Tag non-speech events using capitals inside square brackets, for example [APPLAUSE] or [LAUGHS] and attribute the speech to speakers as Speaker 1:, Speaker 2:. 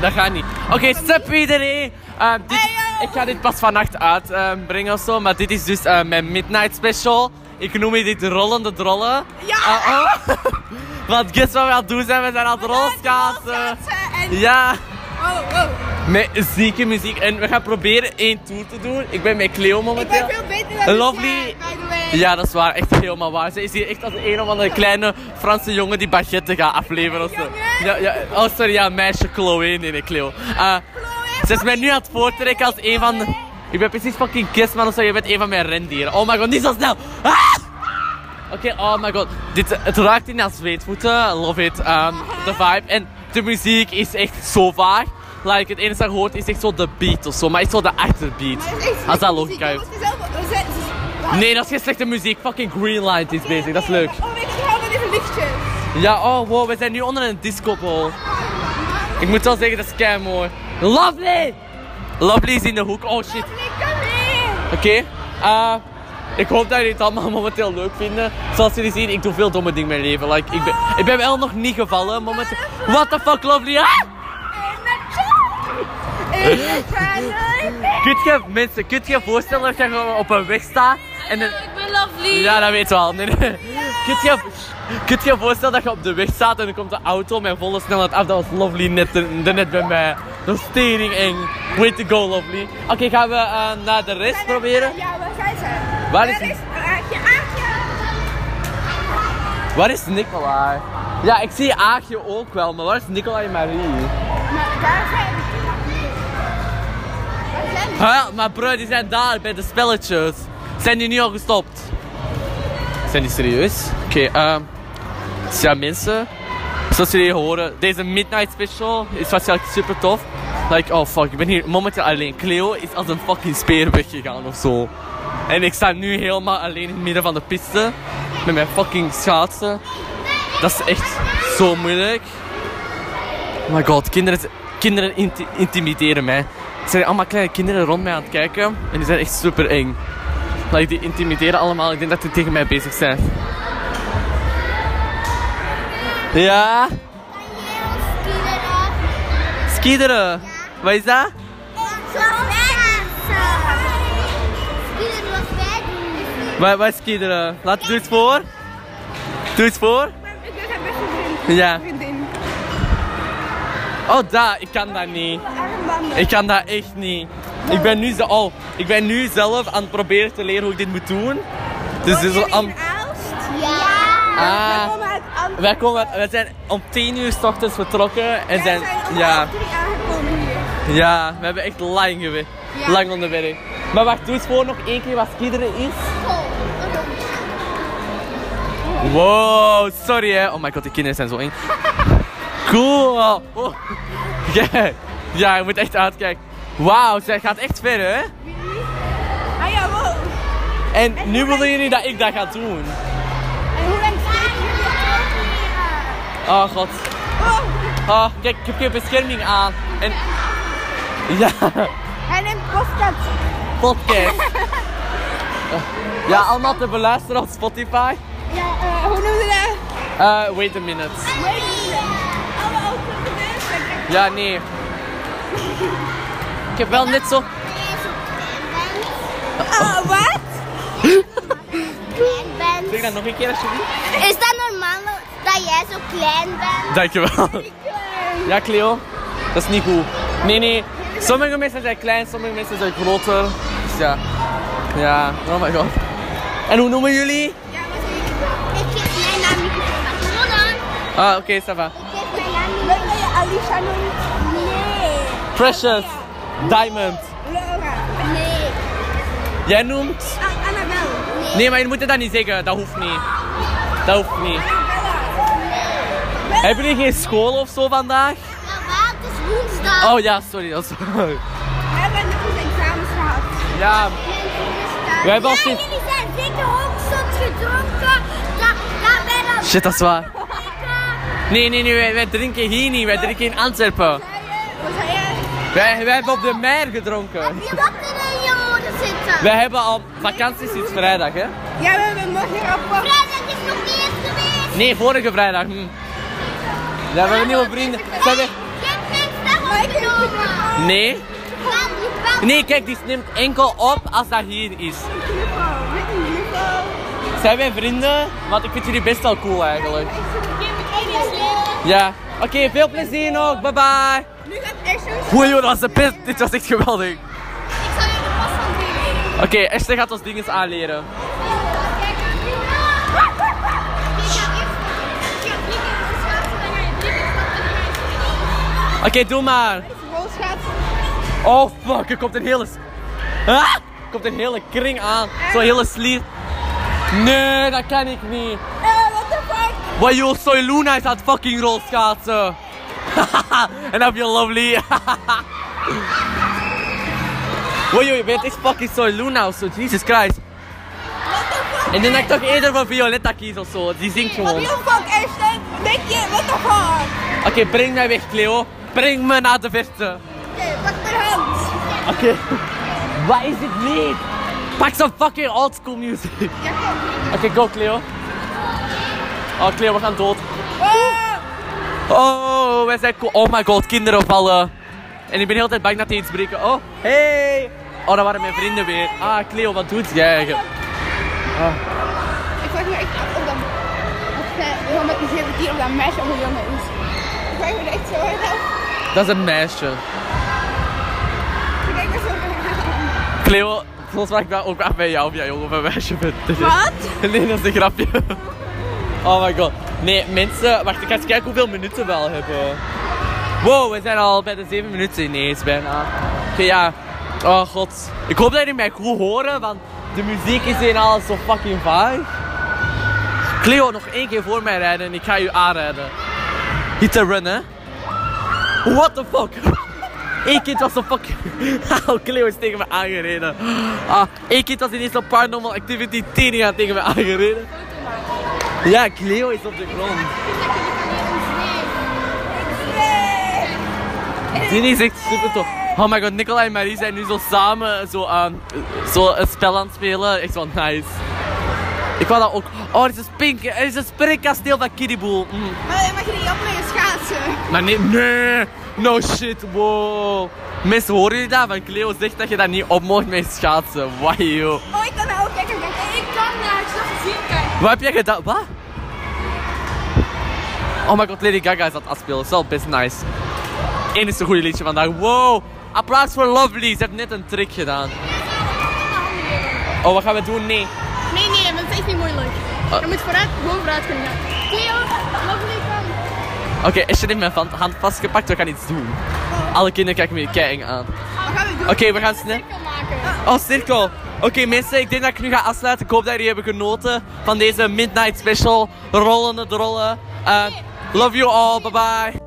Speaker 1: dat gaat niet. Oké, sup iedereen. Eh, dit- ik ga dit pas vannacht uitbrengen of zo, maar dit is dus eh, mijn midnight special. Ik noem dit rollende drollen.
Speaker 2: Ja!
Speaker 1: Eh, oh. [LAUGHS] Want guess wat we aan het doen zijn? We zijn aan het rolschaatsen.
Speaker 2: En...
Speaker 1: Ja,
Speaker 2: Oh, wow.
Speaker 1: met zieke muziek. En we gaan proberen één tour te doen. Ik ben met Cleo
Speaker 2: Ik ben
Speaker 1: momenteel.
Speaker 2: veel beter dan
Speaker 1: Lovely.
Speaker 2: jij, by the way.
Speaker 1: Ja, dat is waar. Echt helemaal waar. Ze is hier echt als een of andere kleine Franse jongen die baguette gaat afleveren of zo.
Speaker 2: Jongen?
Speaker 1: Ja, ja, oh, sorry. Ja, meisje Chloe. Nee, nee, Cleo. Eh,
Speaker 2: Chloe,
Speaker 1: ze is mij nu aan het voortrekken als een van... de- Ik ben precies fucking kistman of zo. Je bent een van mijn rendieren. Oh my god, niet zo snel. Ah! Oké, oh my god. Dit, het ruikt in als zweetvoeten. Love it. Ehm, de vibe. En de muziek is echt zo vaag. Like, het enige dat je hoort is echt zo de beat of zo. Maar echt zo de achterbeat.
Speaker 2: Maar het is echt
Speaker 1: Als dat
Speaker 2: slechte
Speaker 1: logica
Speaker 2: muziek,
Speaker 1: heeft.
Speaker 2: want het is wel- we zijn- het is- Ah,
Speaker 1: Nee, dat is geen slechte muziek. Fucking Greenlight is bezig. Dat is
Speaker 2: nee,
Speaker 1: leuk.
Speaker 2: maar- Oh, weet je wel, met die lichtjes.
Speaker 1: Ja, oh wow, we zijn nu onder een discobol. Ik moet wel zeggen, dat is kei mooi. Lovely! Lovely is in de hoek. Oh shit.
Speaker 2: Lovely, come here.
Speaker 1: Oké. eh, ik hoop dat jullie het allemaal [LAUGHS] momenteel leuk vinden. Zoals jullie zien, ik doe veel domme dingen in mijn leven. Like, ik, ben, ik ben wel nog niet gevallen momenteel. What the fuck, Lovely? Ah!
Speaker 2: In the jungle. In the
Speaker 1: [LAUGHS]
Speaker 2: jungle.
Speaker 1: Kunt je, mensen, kunt je voorstellen dat je gewoon op een weg staat en een,
Speaker 2: Ik ben lovely.
Speaker 1: Ja, dat weten we al. Nee, nee. Kunt je kunt je voorstellen dat je op de weg staat en er komt een auto met volle snelheid af? Dat was lovely net, net bij mij. Dat is tering eng. Way to go, lovely. Oké, gaan we eh, naar de rest proberen?
Speaker 2: Ja, waar zijn ze?
Speaker 1: Waar is-
Speaker 2: Daar is eh, Aagje, Aagje.
Speaker 1: Waar is Nicolai? Ja, ik zie Aagje ook wel, maar waar is Nicolai en Marie?
Speaker 2: Maar daar zijn Waar zijn ze?
Speaker 1: Huh? Maar bro, die zijn daar bij de spelletjes. Zijn die nu al gestopt? Zijn die serieus? Oké, ehm. dus ja, mensen. Zoals jullie horen, deze Midnight Special is waarschijnlijk super tof. Like, oh fuck, ik ben hier momenteel alleen. Cleo is als een fucking speer weggegaan of zo. En ik sta nu helemaal alleen in het midden van de piste. Met mijn fucking schaatsen. Dat is echt zo moeilijk. Oh my god, kinderen, kinderen inti- intimideren mij. Er zijn allemaal kleine kinderen rond mij aan het kijken en die zijn echt super eng. Like, die intimideren allemaal, ik denk dat die tegen mij bezig zijn. Ja? Skiederen? Wat is dat? Wat, wat is skiederen? Laat, doe eens voor. Doe eens voor.
Speaker 2: Ik ben haar beste vriend.
Speaker 1: Ja.
Speaker 2: Vriendin.
Speaker 1: Oh, dat, ik kan dat niet.
Speaker 2: Armbanden.
Speaker 1: Ik kan dat echt niet. Ik ben nu, ze- oh, ik ben nu zelf aan het proberen te leren hoe ik dit moet doen. Dus dit is al... am- Ah. Wij, komen, wij zijn om 10 uur s ochtends vertrokken en zijn. Ja,
Speaker 2: drie aangekomen hier.
Speaker 1: ja, we hebben echt lang geweest.
Speaker 2: Ja.
Speaker 1: Lang onderweg. Maar wacht, doe eens voor nog één keer wat skiederen is. Wow, sorry hè. Oh my god, die kinderen zijn zo eng. Cool. Oh. Ja, ja, je moet echt uitkijken. Wauw, zij gaat echt ver hè.
Speaker 2: Ah ja, wow.
Speaker 1: En nu willen jullie dat ik dat ga doen.
Speaker 2: En hoe lang staat
Speaker 1: Oh god. Oh, kijk, ik heb geen bescherming aan. En. Ja.
Speaker 2: En een postkat.
Speaker 1: podcast. [LAUGHS] ja, allemaal te beluisteren op Spotify.
Speaker 2: Ja, eh, hoe noem je dat?
Speaker 1: Eh, wait a minute.
Speaker 2: Weet je dat? Alle auto's mensen.
Speaker 1: Ja, nee. Ik heb wel net zo...
Speaker 2: Ah, wat?
Speaker 1: Zeg dat nog een keer alsjeblieft.
Speaker 3: Is dat normaal dat jij zo klein bent?
Speaker 1: Dankjewel. Ja, Cleo. Dat is niet goed. Nee, nee. Sommige mensen zijn klein, sommige mensen zijn groter. Dus ja. Ja, oh my god. En hoe noemen jullie?
Speaker 3: Ja, maar ik geef mijn naam niet Kom dan.
Speaker 1: Ah, oké, Sava.
Speaker 3: Ik geef mijn naam
Speaker 2: Wil je Alicia noemen? Nee.
Speaker 1: Precious. Diamond.
Speaker 2: Laura.
Speaker 3: Nee.
Speaker 1: Jij noemt...
Speaker 2: Ah, Annabel.
Speaker 1: Nee, maar je moet dat niet zeggen. Dat hoeft niet. Dat hoeft niet. Hebben jullie geen school of zo vandaag?
Speaker 3: Ja, waar? Het is woensdag.
Speaker 1: Oh ja, sorry. Dat is...
Speaker 2: We hebben net onze examens gehad.
Speaker 1: Ja, we hebben al
Speaker 3: ja,
Speaker 1: sinds...
Speaker 3: jullie zijn zeker ook zot gedronken. Daar, daar ben je
Speaker 1: Shit, dat is waar. Nee, nee, nee, wij, wij drinken hier niet. Wij drinken in Antwerpen.
Speaker 2: Wat zei jij?
Speaker 1: Wij, wij hebben op de Meer gedronken.
Speaker 3: Je wat er in je oren zitten.
Speaker 1: Wij hebben al vakantie sinds vrijdag, hè?
Speaker 2: Ja, we hebben morgen een rapport.
Speaker 3: Vrijdag is nog niet eens geweest.
Speaker 1: Nee, vorige vrijdag. Hm. Ja, we hebben nieuwe vrienden. Ze hebben-
Speaker 3: Je hebt niks, dat genomen.
Speaker 1: Nee?
Speaker 3: Van, van,
Speaker 1: Nee, kijk, die neemt enkel op als dat hier is.
Speaker 2: Juffrouw, met een juffrouw.
Speaker 1: Zijn wij vrienden? Want ik vind jullie best wel cool eigenlijk. Ja. Oké, veel plezier nog. Bye bye.
Speaker 2: Nu gaat Esther
Speaker 1: Oei, joh, dat was de best. Dit was echt geweldig.
Speaker 3: ik zal je de pas van doen.
Speaker 1: Oké, Esther gaat ons dingen aanleren.
Speaker 3: Kijk, ik ga
Speaker 1: Oké, doe maar.
Speaker 2: rolschaatsen.
Speaker 1: Oh fuck, er komt een hele. s- Ah! Er komt een hele kring aan. Zo'n hele slier. Nee, dat kan ik niet.
Speaker 2: Eh, what the fuck?
Speaker 1: Wat joh, Soy Luna is aan het fucking [LAUGHS] rolschaatsen. En heb je lovely. [LAUGHS] Wow, joh, je bent echt fucking Soy Luna of zo, Jesus Christ. En dan heb ik toch eerder van Violetta kies of zo, die zingt
Speaker 2: What
Speaker 1: gewoon.
Speaker 2: the fuck, Esther? Denk je, what the fuck?
Speaker 1: Oké, breng mij weg, Cleo. Breng me naar de verte.
Speaker 2: Oké, pak mijn hand.
Speaker 1: Oké. [LAUGHS] Wat is dit lied? Pak zo'n fucking old school music.
Speaker 2: Ja, kom.
Speaker 1: Oké, go Cleo. Oh, Cleo, we gaan dood.
Speaker 2: Ah,
Speaker 1: Oh, wij zijn cool. Oh my god, kinderen vallen. En ik ben heel tijd bang dat die iets breken. Oh, hey. Oh, dat waren mijn vrienden weer. Ah, Cleo, wat doet jij eigenlijk?
Speaker 2: Ik vraag me echt af of dat... Of zij helemaal met die zeven keer of dat meisje of een jongen is. Ik vraag me er echt zo hard af.
Speaker 1: Dat is een meisje.
Speaker 2: Ik denk dat ze
Speaker 1: Cleo, soms vraag ik me ook af bij jou of jij jongen of een meisje bent.
Speaker 2: Wat?
Speaker 1: [LAUGHS] Nee, dat is een grapje. Oh my god. Nee, mensen, wacht, ik ga eens kijken hoeveel minuten we al hebben. Wow, we zijn al bij de 7 minuten ineens bijna. Oké, ja. Oh god. Ik hoop dat jullie mij goed horen, want de muziek is hier al zo fucking vaag. Cleo, nog één keer voor mij rijden en ik ga u aanrijden. Niet te runnen. What the fuck? Eén kind was zo fucking... [LAUGHS] Oh, Cleo is tegen me aangereden. Ah, één kind was ineens op Paranormal Activity 10 jaar tegen me aangereden. Ja, Cleo is op de grond. Dini is echt super tof. Oh my god, Nicola en Marie zijn nu zo samen zo, ehm, zo een spel aan het spelen. Echt wel nice. Ik wou dat ook. Oh, er is een, spink, er is een sprinkasteel van Kiddieboel. Mm.
Speaker 2: Maar mag je niet op met je schaatsen?
Speaker 1: Maar nee, nee, no shit, wow. Mensen, horen jullie dat? Van Cleo zegt dat je dat niet op mocht mee schaatsen. Wauw, joh.
Speaker 2: Oh, ik kan nou ook kijken. Ik denk, hey, ik kan daar. Ik zag het zien, kijk.
Speaker 1: Wat heb jij gedaan? Wat? Oh my god, Lady Gaga is aan het afspelen. Dat is wel best nice. Eén is een goede liedje vandaag. Wow! Applaus voor Lovely. Ze heeft net een trick gedaan. Oh, wat gaan we doen? Nee.
Speaker 3: Nee, nee, want het is niet moeilijk. Je moet vooruit, gewoon vooruit kunnen gaan. Theo, lovely come.
Speaker 1: Oké, Esther heeft mijn van- hand vastgepakt. We gaan iets doen. Alle kinderen kijken me kei eng aan.
Speaker 2: Wat gaan we doen?
Speaker 1: Oké, we gaan snel.
Speaker 3: Cirkel maken.
Speaker 1: Oh, cirkel. Oké mensen, ik denk dat ik nu ga afsluiten. Ik hoop dat jullie hebben genoten van deze Midnight Special. Rollende drollen. Eh, love you all. Bye bye.